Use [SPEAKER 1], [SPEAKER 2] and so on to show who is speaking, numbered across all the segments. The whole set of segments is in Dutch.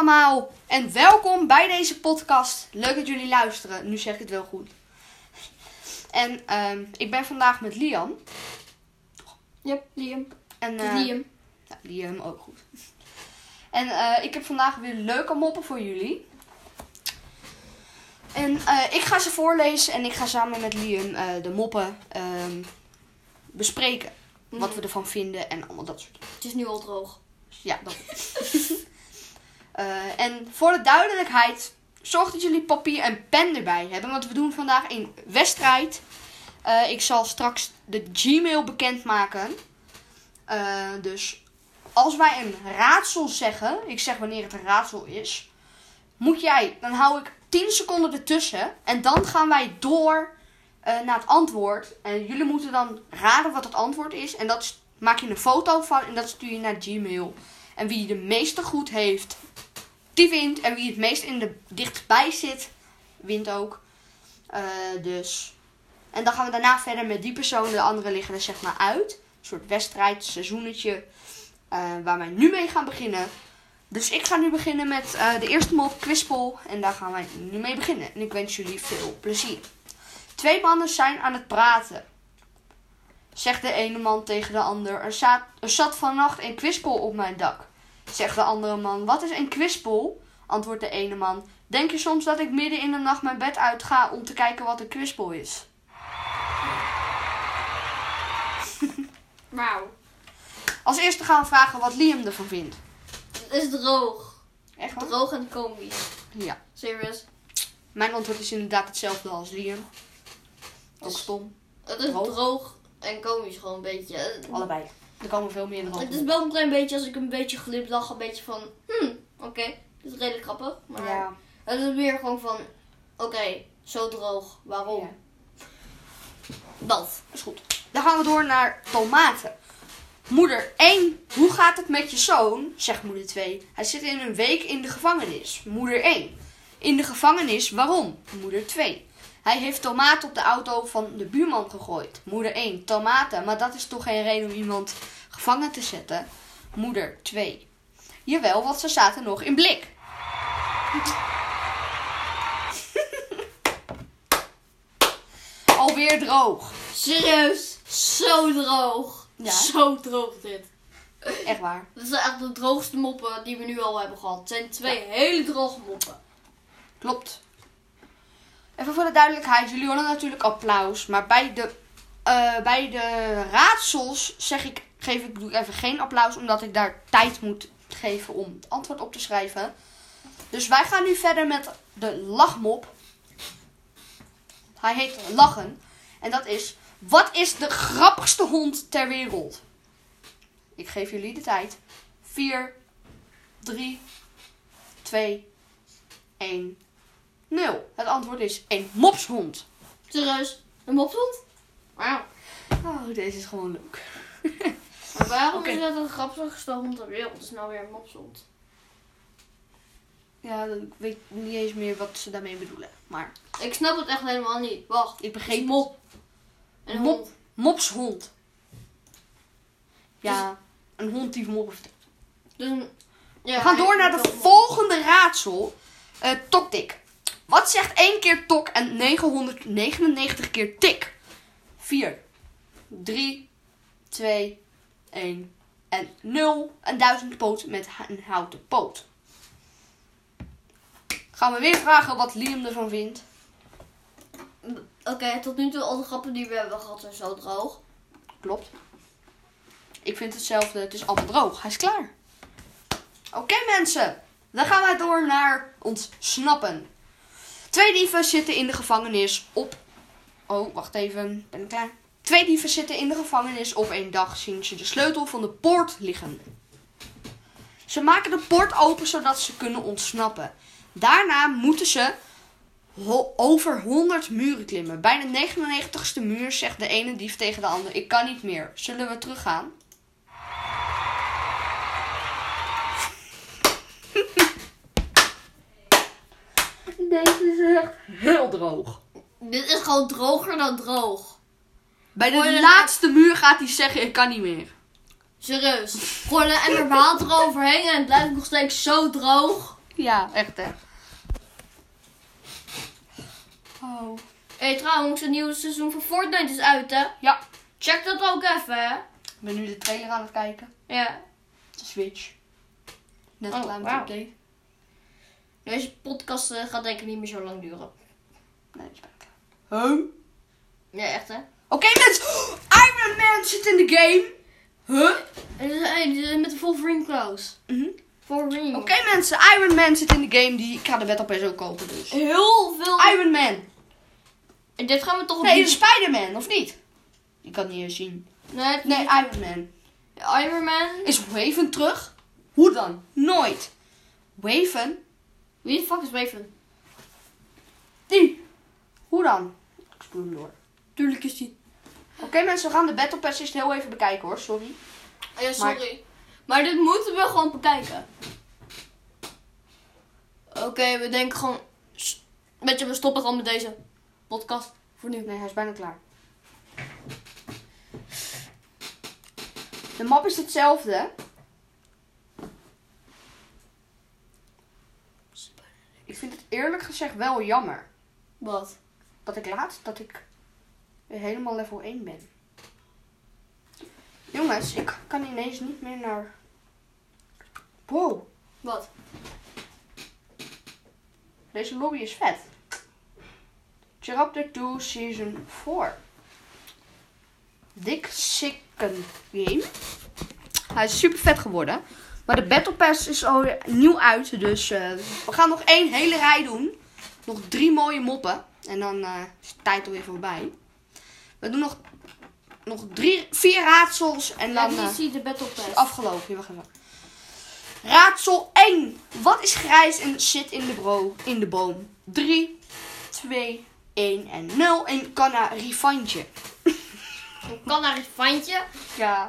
[SPEAKER 1] allemaal en welkom bij deze podcast. Leuk dat jullie luisteren. Nu zeg ik het wel goed. En ehm, ik ben vandaag met Lian.
[SPEAKER 2] Yep, Liam.
[SPEAKER 1] En,
[SPEAKER 2] Het is
[SPEAKER 1] eh,
[SPEAKER 2] Liam.
[SPEAKER 1] ja, Liam ook goed. En eh, ik heb vandaag weer leuke moppen voor jullie. En eh, ik ga ze voorlezen en ik ga samen met Liam eh, de moppen ehm, bespreken. Wat we ervan vinden en allemaal dat soort
[SPEAKER 2] Het is nu al droog.
[SPEAKER 1] Ja, dat. Eh, en voor de duidelijkheid, zorg dat jullie papier en pen erbij hebben. Want we doen vandaag een wedstrijd. Eh, ik zal straks de Gmail bekendmaken. Eh, dus als wij een raadsel zeggen, ik zeg wanneer het een raadsel is, moet jij, dan hou ik 10 seconden ertussen. En dan gaan wij door eh, naar het antwoord. En jullie moeten dan raden wat het antwoord is. En dat is- maak je een foto van en dat stuur je naar Gmail. En wie de meeste goed heeft, die wint. En wie het meest in de dichtbij zit, wint ook. Eh, dus. En dan gaan we daarna verder met die persoon. De anderen liggen er zeg maar uit. Een soort wedstrijd, seizoenetje. eh, waar wij nu mee gaan beginnen. Dus ik ga nu beginnen met eh, de eerste mop, Quispel. En daar gaan wij nu mee beginnen. En ik wens jullie veel plezier. Twee mannen zijn aan het praten. Zegt de ene man tegen de ander: Er, zaat, er zat vannacht een kwispel op mijn dak. Zegt de andere man: Wat is een kwispel? Antwoordt de ene man: Denk je soms dat ik midden in de nacht mijn bed uitga om te kijken wat een kwispel is?
[SPEAKER 2] Wauw.
[SPEAKER 1] Als eerste gaan we vragen wat Liam ervan vindt.
[SPEAKER 2] Het is droog.
[SPEAKER 1] Echt waar?
[SPEAKER 2] Droog en komisch.
[SPEAKER 1] Ja.
[SPEAKER 2] Serious.
[SPEAKER 1] Mijn antwoord is inderdaad hetzelfde als Liam.
[SPEAKER 2] Dus
[SPEAKER 1] Ook stom.
[SPEAKER 2] Het is
[SPEAKER 1] Droog?
[SPEAKER 2] droog, en komisch gewoon een beetje. Het-
[SPEAKER 1] Allebei. Er komen veel meer
[SPEAKER 2] Het
[SPEAKER 1] dan
[SPEAKER 2] is wel een klein beetje, als ik een beetje glimlach, een beetje van... Hmm, oké. Dit is redelijk grappig. Maar
[SPEAKER 1] Ja.
[SPEAKER 2] het is meer gewoon van... Oké, zo droog. Waarom?
[SPEAKER 1] Ja.
[SPEAKER 2] Dat.
[SPEAKER 1] Is goed. Dan gaan we door naar tomaten. Moeder 1, hoe gaat het met je zoon? Zegt moeder 2. Hij zit in een week in de gevangenis. Moeder 1. In de gevangenis, waarom? Moeder 2. Hij heeft tomaten op de auto van de buurman gegooid. Moeder 1, tomaten, maar dat is toch geen reden om iemand gevangen te zetten? Moeder 2. Jawel, want ze zaten nog in blik. Alweer droog.
[SPEAKER 2] Serieus. Zo droog.
[SPEAKER 1] Ja.
[SPEAKER 2] Zo droog dit.
[SPEAKER 1] Echt waar.
[SPEAKER 2] Dat zijn echt de droogste moppen die we nu al hebben gehad. Het zijn twee hele droge moppen.
[SPEAKER 1] Klopt. Even voor de duidelijkheid, jullie horen natuurlijk applaus, maar bij de, eh, bij de raadsels zeg ik, geef ik, doe ik even geen applaus, omdat ik daar tijd moet geven om het antwoord op te schrijven. Dus wij gaan nu verder met de lachmop. Hij heet Lachen. En dat is, wat is de grappigste hond ter wereld? Ik geef jullie de tijd. 4, 3, 2, 1, 0. Het antwoord is een mopshond.
[SPEAKER 2] Serieus, een mopshond? Wauw.
[SPEAKER 1] Oh, deze is gewoon leuk.
[SPEAKER 2] Maar waarom
[SPEAKER 1] Oké.
[SPEAKER 2] is dat een grappigste hond ter wereld? Dat is nou weer een mopshond.
[SPEAKER 1] Ja, ik weet niet eens meer wat ze daarmee bedoelen. Maar
[SPEAKER 2] Ik snap het echt helemaal niet. Wacht,
[SPEAKER 1] ik
[SPEAKER 2] geen
[SPEAKER 1] begreep
[SPEAKER 2] mop. Een
[SPEAKER 1] Mop.
[SPEAKER 2] hond.
[SPEAKER 1] mopshond. Ja, een hond die moppen vertelt.
[SPEAKER 2] Dus een- ja,
[SPEAKER 1] We gaan
[SPEAKER 2] hij-
[SPEAKER 1] door naar
[SPEAKER 2] hij
[SPEAKER 1] de
[SPEAKER 2] kan mop.
[SPEAKER 1] volgende raadsel. Eh tok tik. Wat zegt 1 keer tok en 999 keer tik? 4, 3, 2, 1 en 0. Een duizendpoot met ha- een houten poot. Gaan we weer vragen wat Liam ervan vindt.
[SPEAKER 2] Oké, tot nu toe al de grappen die we hebben gehad zijn zo droog.
[SPEAKER 1] Klopt. Ik vind hetzelfde. Het is allemaal droog. Hij is klaar. Oké mensen. Dan gaan wij door naar ontsnappen. Twee dieven zitten in de gevangenis op... Oh, wacht even. Ben ik klaar? Twee dieven zitten in de gevangenis. Op één dag zien ze de sleutel van de poort liggen. Ze maken de poort open zodat ze kunnen ontsnappen. Daarna moeten ze ho- over 100 muren klimmen. Bij de 99ste muur zegt de ene dief tegen de ander: Ik kan niet meer. Zullen we teruggaan? Deze is echt heel droog.
[SPEAKER 2] Dit is gewoon droger dan droog.
[SPEAKER 1] Bij
[SPEAKER 2] Hoor je
[SPEAKER 1] de
[SPEAKER 2] dat?
[SPEAKER 1] laatste muur gaat hij zeggen: Ik kan niet meer.
[SPEAKER 2] Serieus. Gewoon een emmer water overheen en het blijft nog steeds zo droog.
[SPEAKER 1] ja, echt hè. Oh.
[SPEAKER 2] hey, trouwens, het nieuwe seizoen van Fortnite is uit, hè?
[SPEAKER 1] Ja,
[SPEAKER 2] Check dat ook even, hè?
[SPEAKER 1] ik ben nu de trailer aan het kijken.
[SPEAKER 2] Ja.
[SPEAKER 1] De Switch. Net
[SPEAKER 2] Oh,
[SPEAKER 1] klaar met
[SPEAKER 2] wauw.
[SPEAKER 1] de update.
[SPEAKER 2] Deze podcast eh, gaat denk ik niet meer zo lang duren.
[SPEAKER 1] Nee, dat is bijna klaar. Huh?
[SPEAKER 2] Ja, echt, hè?
[SPEAKER 1] Oké mensen, Iron Man zit in de game. Huh?
[SPEAKER 2] En, eh, eh, met de Wolverine Klaus.
[SPEAKER 1] Mhm.
[SPEAKER 2] Wolverine.
[SPEAKER 1] Oké mensen, Iron Man zit in de game. Die, ik ga de wet opeens ook kopen dus.
[SPEAKER 2] Heel veel.
[SPEAKER 1] Iron Man.
[SPEAKER 2] En dit gaan we toch op
[SPEAKER 1] Nee,
[SPEAKER 2] YouTube-
[SPEAKER 1] Spider-Man, of niet? Ik kan het niet eens zien.
[SPEAKER 2] Nee, het-
[SPEAKER 1] Nee, Iron Man.
[SPEAKER 2] Iron Man.
[SPEAKER 1] Is Waven terug? Hoe dan? Nooit. Waven?
[SPEAKER 2] Wie de fuck is Raven?
[SPEAKER 1] Die. Hoe dan? Ik spoel hem door.
[SPEAKER 2] Tuurlijk is die.
[SPEAKER 1] Oké mensen, we gaan de Battle Pass eerst heel even bekijken hoor, sorry.
[SPEAKER 2] Oh Ja, sorry. Maar, dit moeten we gewoon bekijken. Oké, we denken gewoon... s- Weet je, we stoppen gewoon met deze podcast.
[SPEAKER 1] Voor nu. Nee, hij is bijna klaar. De map is hetzelfde. hè? Ik vind het eerlijk gezegd wel jammer.
[SPEAKER 2] Wat?
[SPEAKER 1] dat ik laat dat ik weer helemaal level 1 ben. Jongens, ik kan ineens niet meer naar. Wow,
[SPEAKER 2] Wat?
[SPEAKER 1] deze lobby is vet. Chapter 2 Season 4. Dik sicken game. Hij is super vet geworden. Maar de Battle Pass is al nieuw uit. Dus eh, we gaan nog één hele rij doen. Nog drie mooie moppen. En dan eh, is de tijd alweer voorbij. We doen nog, nog drie, vier raadsels. En dan eh,
[SPEAKER 2] zie je de battle pass.
[SPEAKER 1] is afgelopen. Hier, wacht even. Raadsel 1. Wat is grijs en zit in de, bro in de boom? 3, 2, 1 en 0. En kan naar Rifantje.
[SPEAKER 2] Ik kan naar het vandje.
[SPEAKER 1] Ja.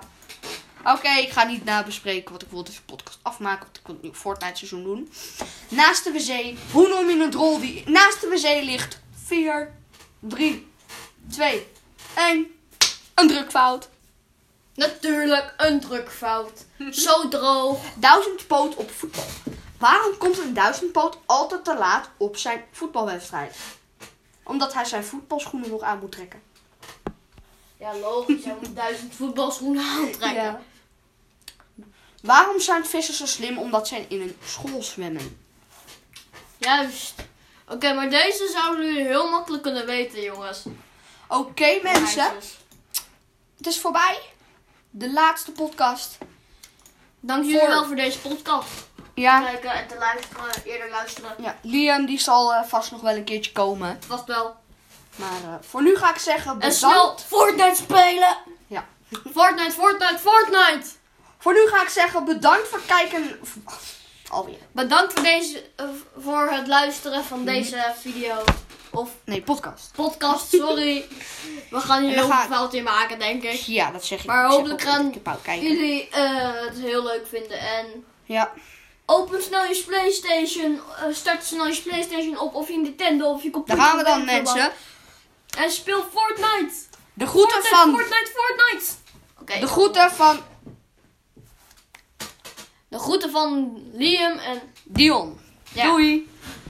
[SPEAKER 1] Oké, ik ga niet nabespreken, want ik wil deze podcast afmaken. Want ik wil het nieuw Fortnite seizoen doen. Naast de wc, hoe noem je een rol die naast de wc ligt? 4, 3, 2, 1. Een drukfout.
[SPEAKER 2] Natuurlijk, een drukfout. Zo droog.
[SPEAKER 1] Duizendpoot op voetbal. Waarom komt een duizendpoot altijd te laat op zijn voetbalwedstrijd? Omdat hij zijn voetbalschoenen nog aan moet trekken.
[SPEAKER 2] Ja, logisch. Hij moet duizend voetbalschoenen aantrekken.
[SPEAKER 1] Waarom zijn vissen zo slim? Omdat zij in een school zwemmen.
[SPEAKER 2] Juist. Oké, maar deze zouden jullie heel makkelijk kunnen weten, jongens.
[SPEAKER 1] Oké mensen,
[SPEAKER 2] Meisjes.
[SPEAKER 1] het is voorbij. De laatste podcast.
[SPEAKER 2] Dank jullie
[SPEAKER 1] Voor-
[SPEAKER 2] wel voor deze podcast.
[SPEAKER 1] Ja,
[SPEAKER 2] Kijken en te luisteren, eerder luisteren.
[SPEAKER 1] ja Liam die zal eh, vast nog wel een keertje komen.
[SPEAKER 2] Vast wel.
[SPEAKER 1] Maar eh, voor nu ga ik zeggen
[SPEAKER 2] En
[SPEAKER 1] bedankt.
[SPEAKER 2] snel Fortnite spelen.
[SPEAKER 1] Ja.
[SPEAKER 2] Fortnite, Fortnite, Fortnite.
[SPEAKER 1] Voor nu ga ik zeggen bedankt voor het kijken. Alweer.
[SPEAKER 2] Bedankt voor, deze, eh, voor het luisteren van deze video. Of
[SPEAKER 1] Nee, podcast.
[SPEAKER 2] podcast, sorry. We gaan hier
[SPEAKER 1] En dan
[SPEAKER 2] heel veel
[SPEAKER 1] ga ik-
[SPEAKER 2] fout in maken, denk ik.
[SPEAKER 1] Ja, dat zeg ik.
[SPEAKER 2] Maar
[SPEAKER 1] Ik zeg
[SPEAKER 2] hopelijk
[SPEAKER 1] ook niet.
[SPEAKER 2] gaan
[SPEAKER 1] Ik heb ook kijken.
[SPEAKER 2] Jullie eh, het heel leuk vinden en...
[SPEAKER 1] Ja.
[SPEAKER 2] Open snel je PlayStation. eh, Start snel je PlayStation op of je Nintendo of je
[SPEAKER 1] Daar
[SPEAKER 2] computer.
[SPEAKER 1] gaan we dan,
[SPEAKER 2] of laptop.
[SPEAKER 1] mensen.
[SPEAKER 2] En speel Fortnite.
[SPEAKER 1] De groeten
[SPEAKER 2] Fortnite,
[SPEAKER 1] van.
[SPEAKER 2] Fortnite, Fortnite. Oké.
[SPEAKER 1] De groeten van
[SPEAKER 2] De groeten van Liam en...
[SPEAKER 1] Dion.
[SPEAKER 2] Ja.
[SPEAKER 1] Doei.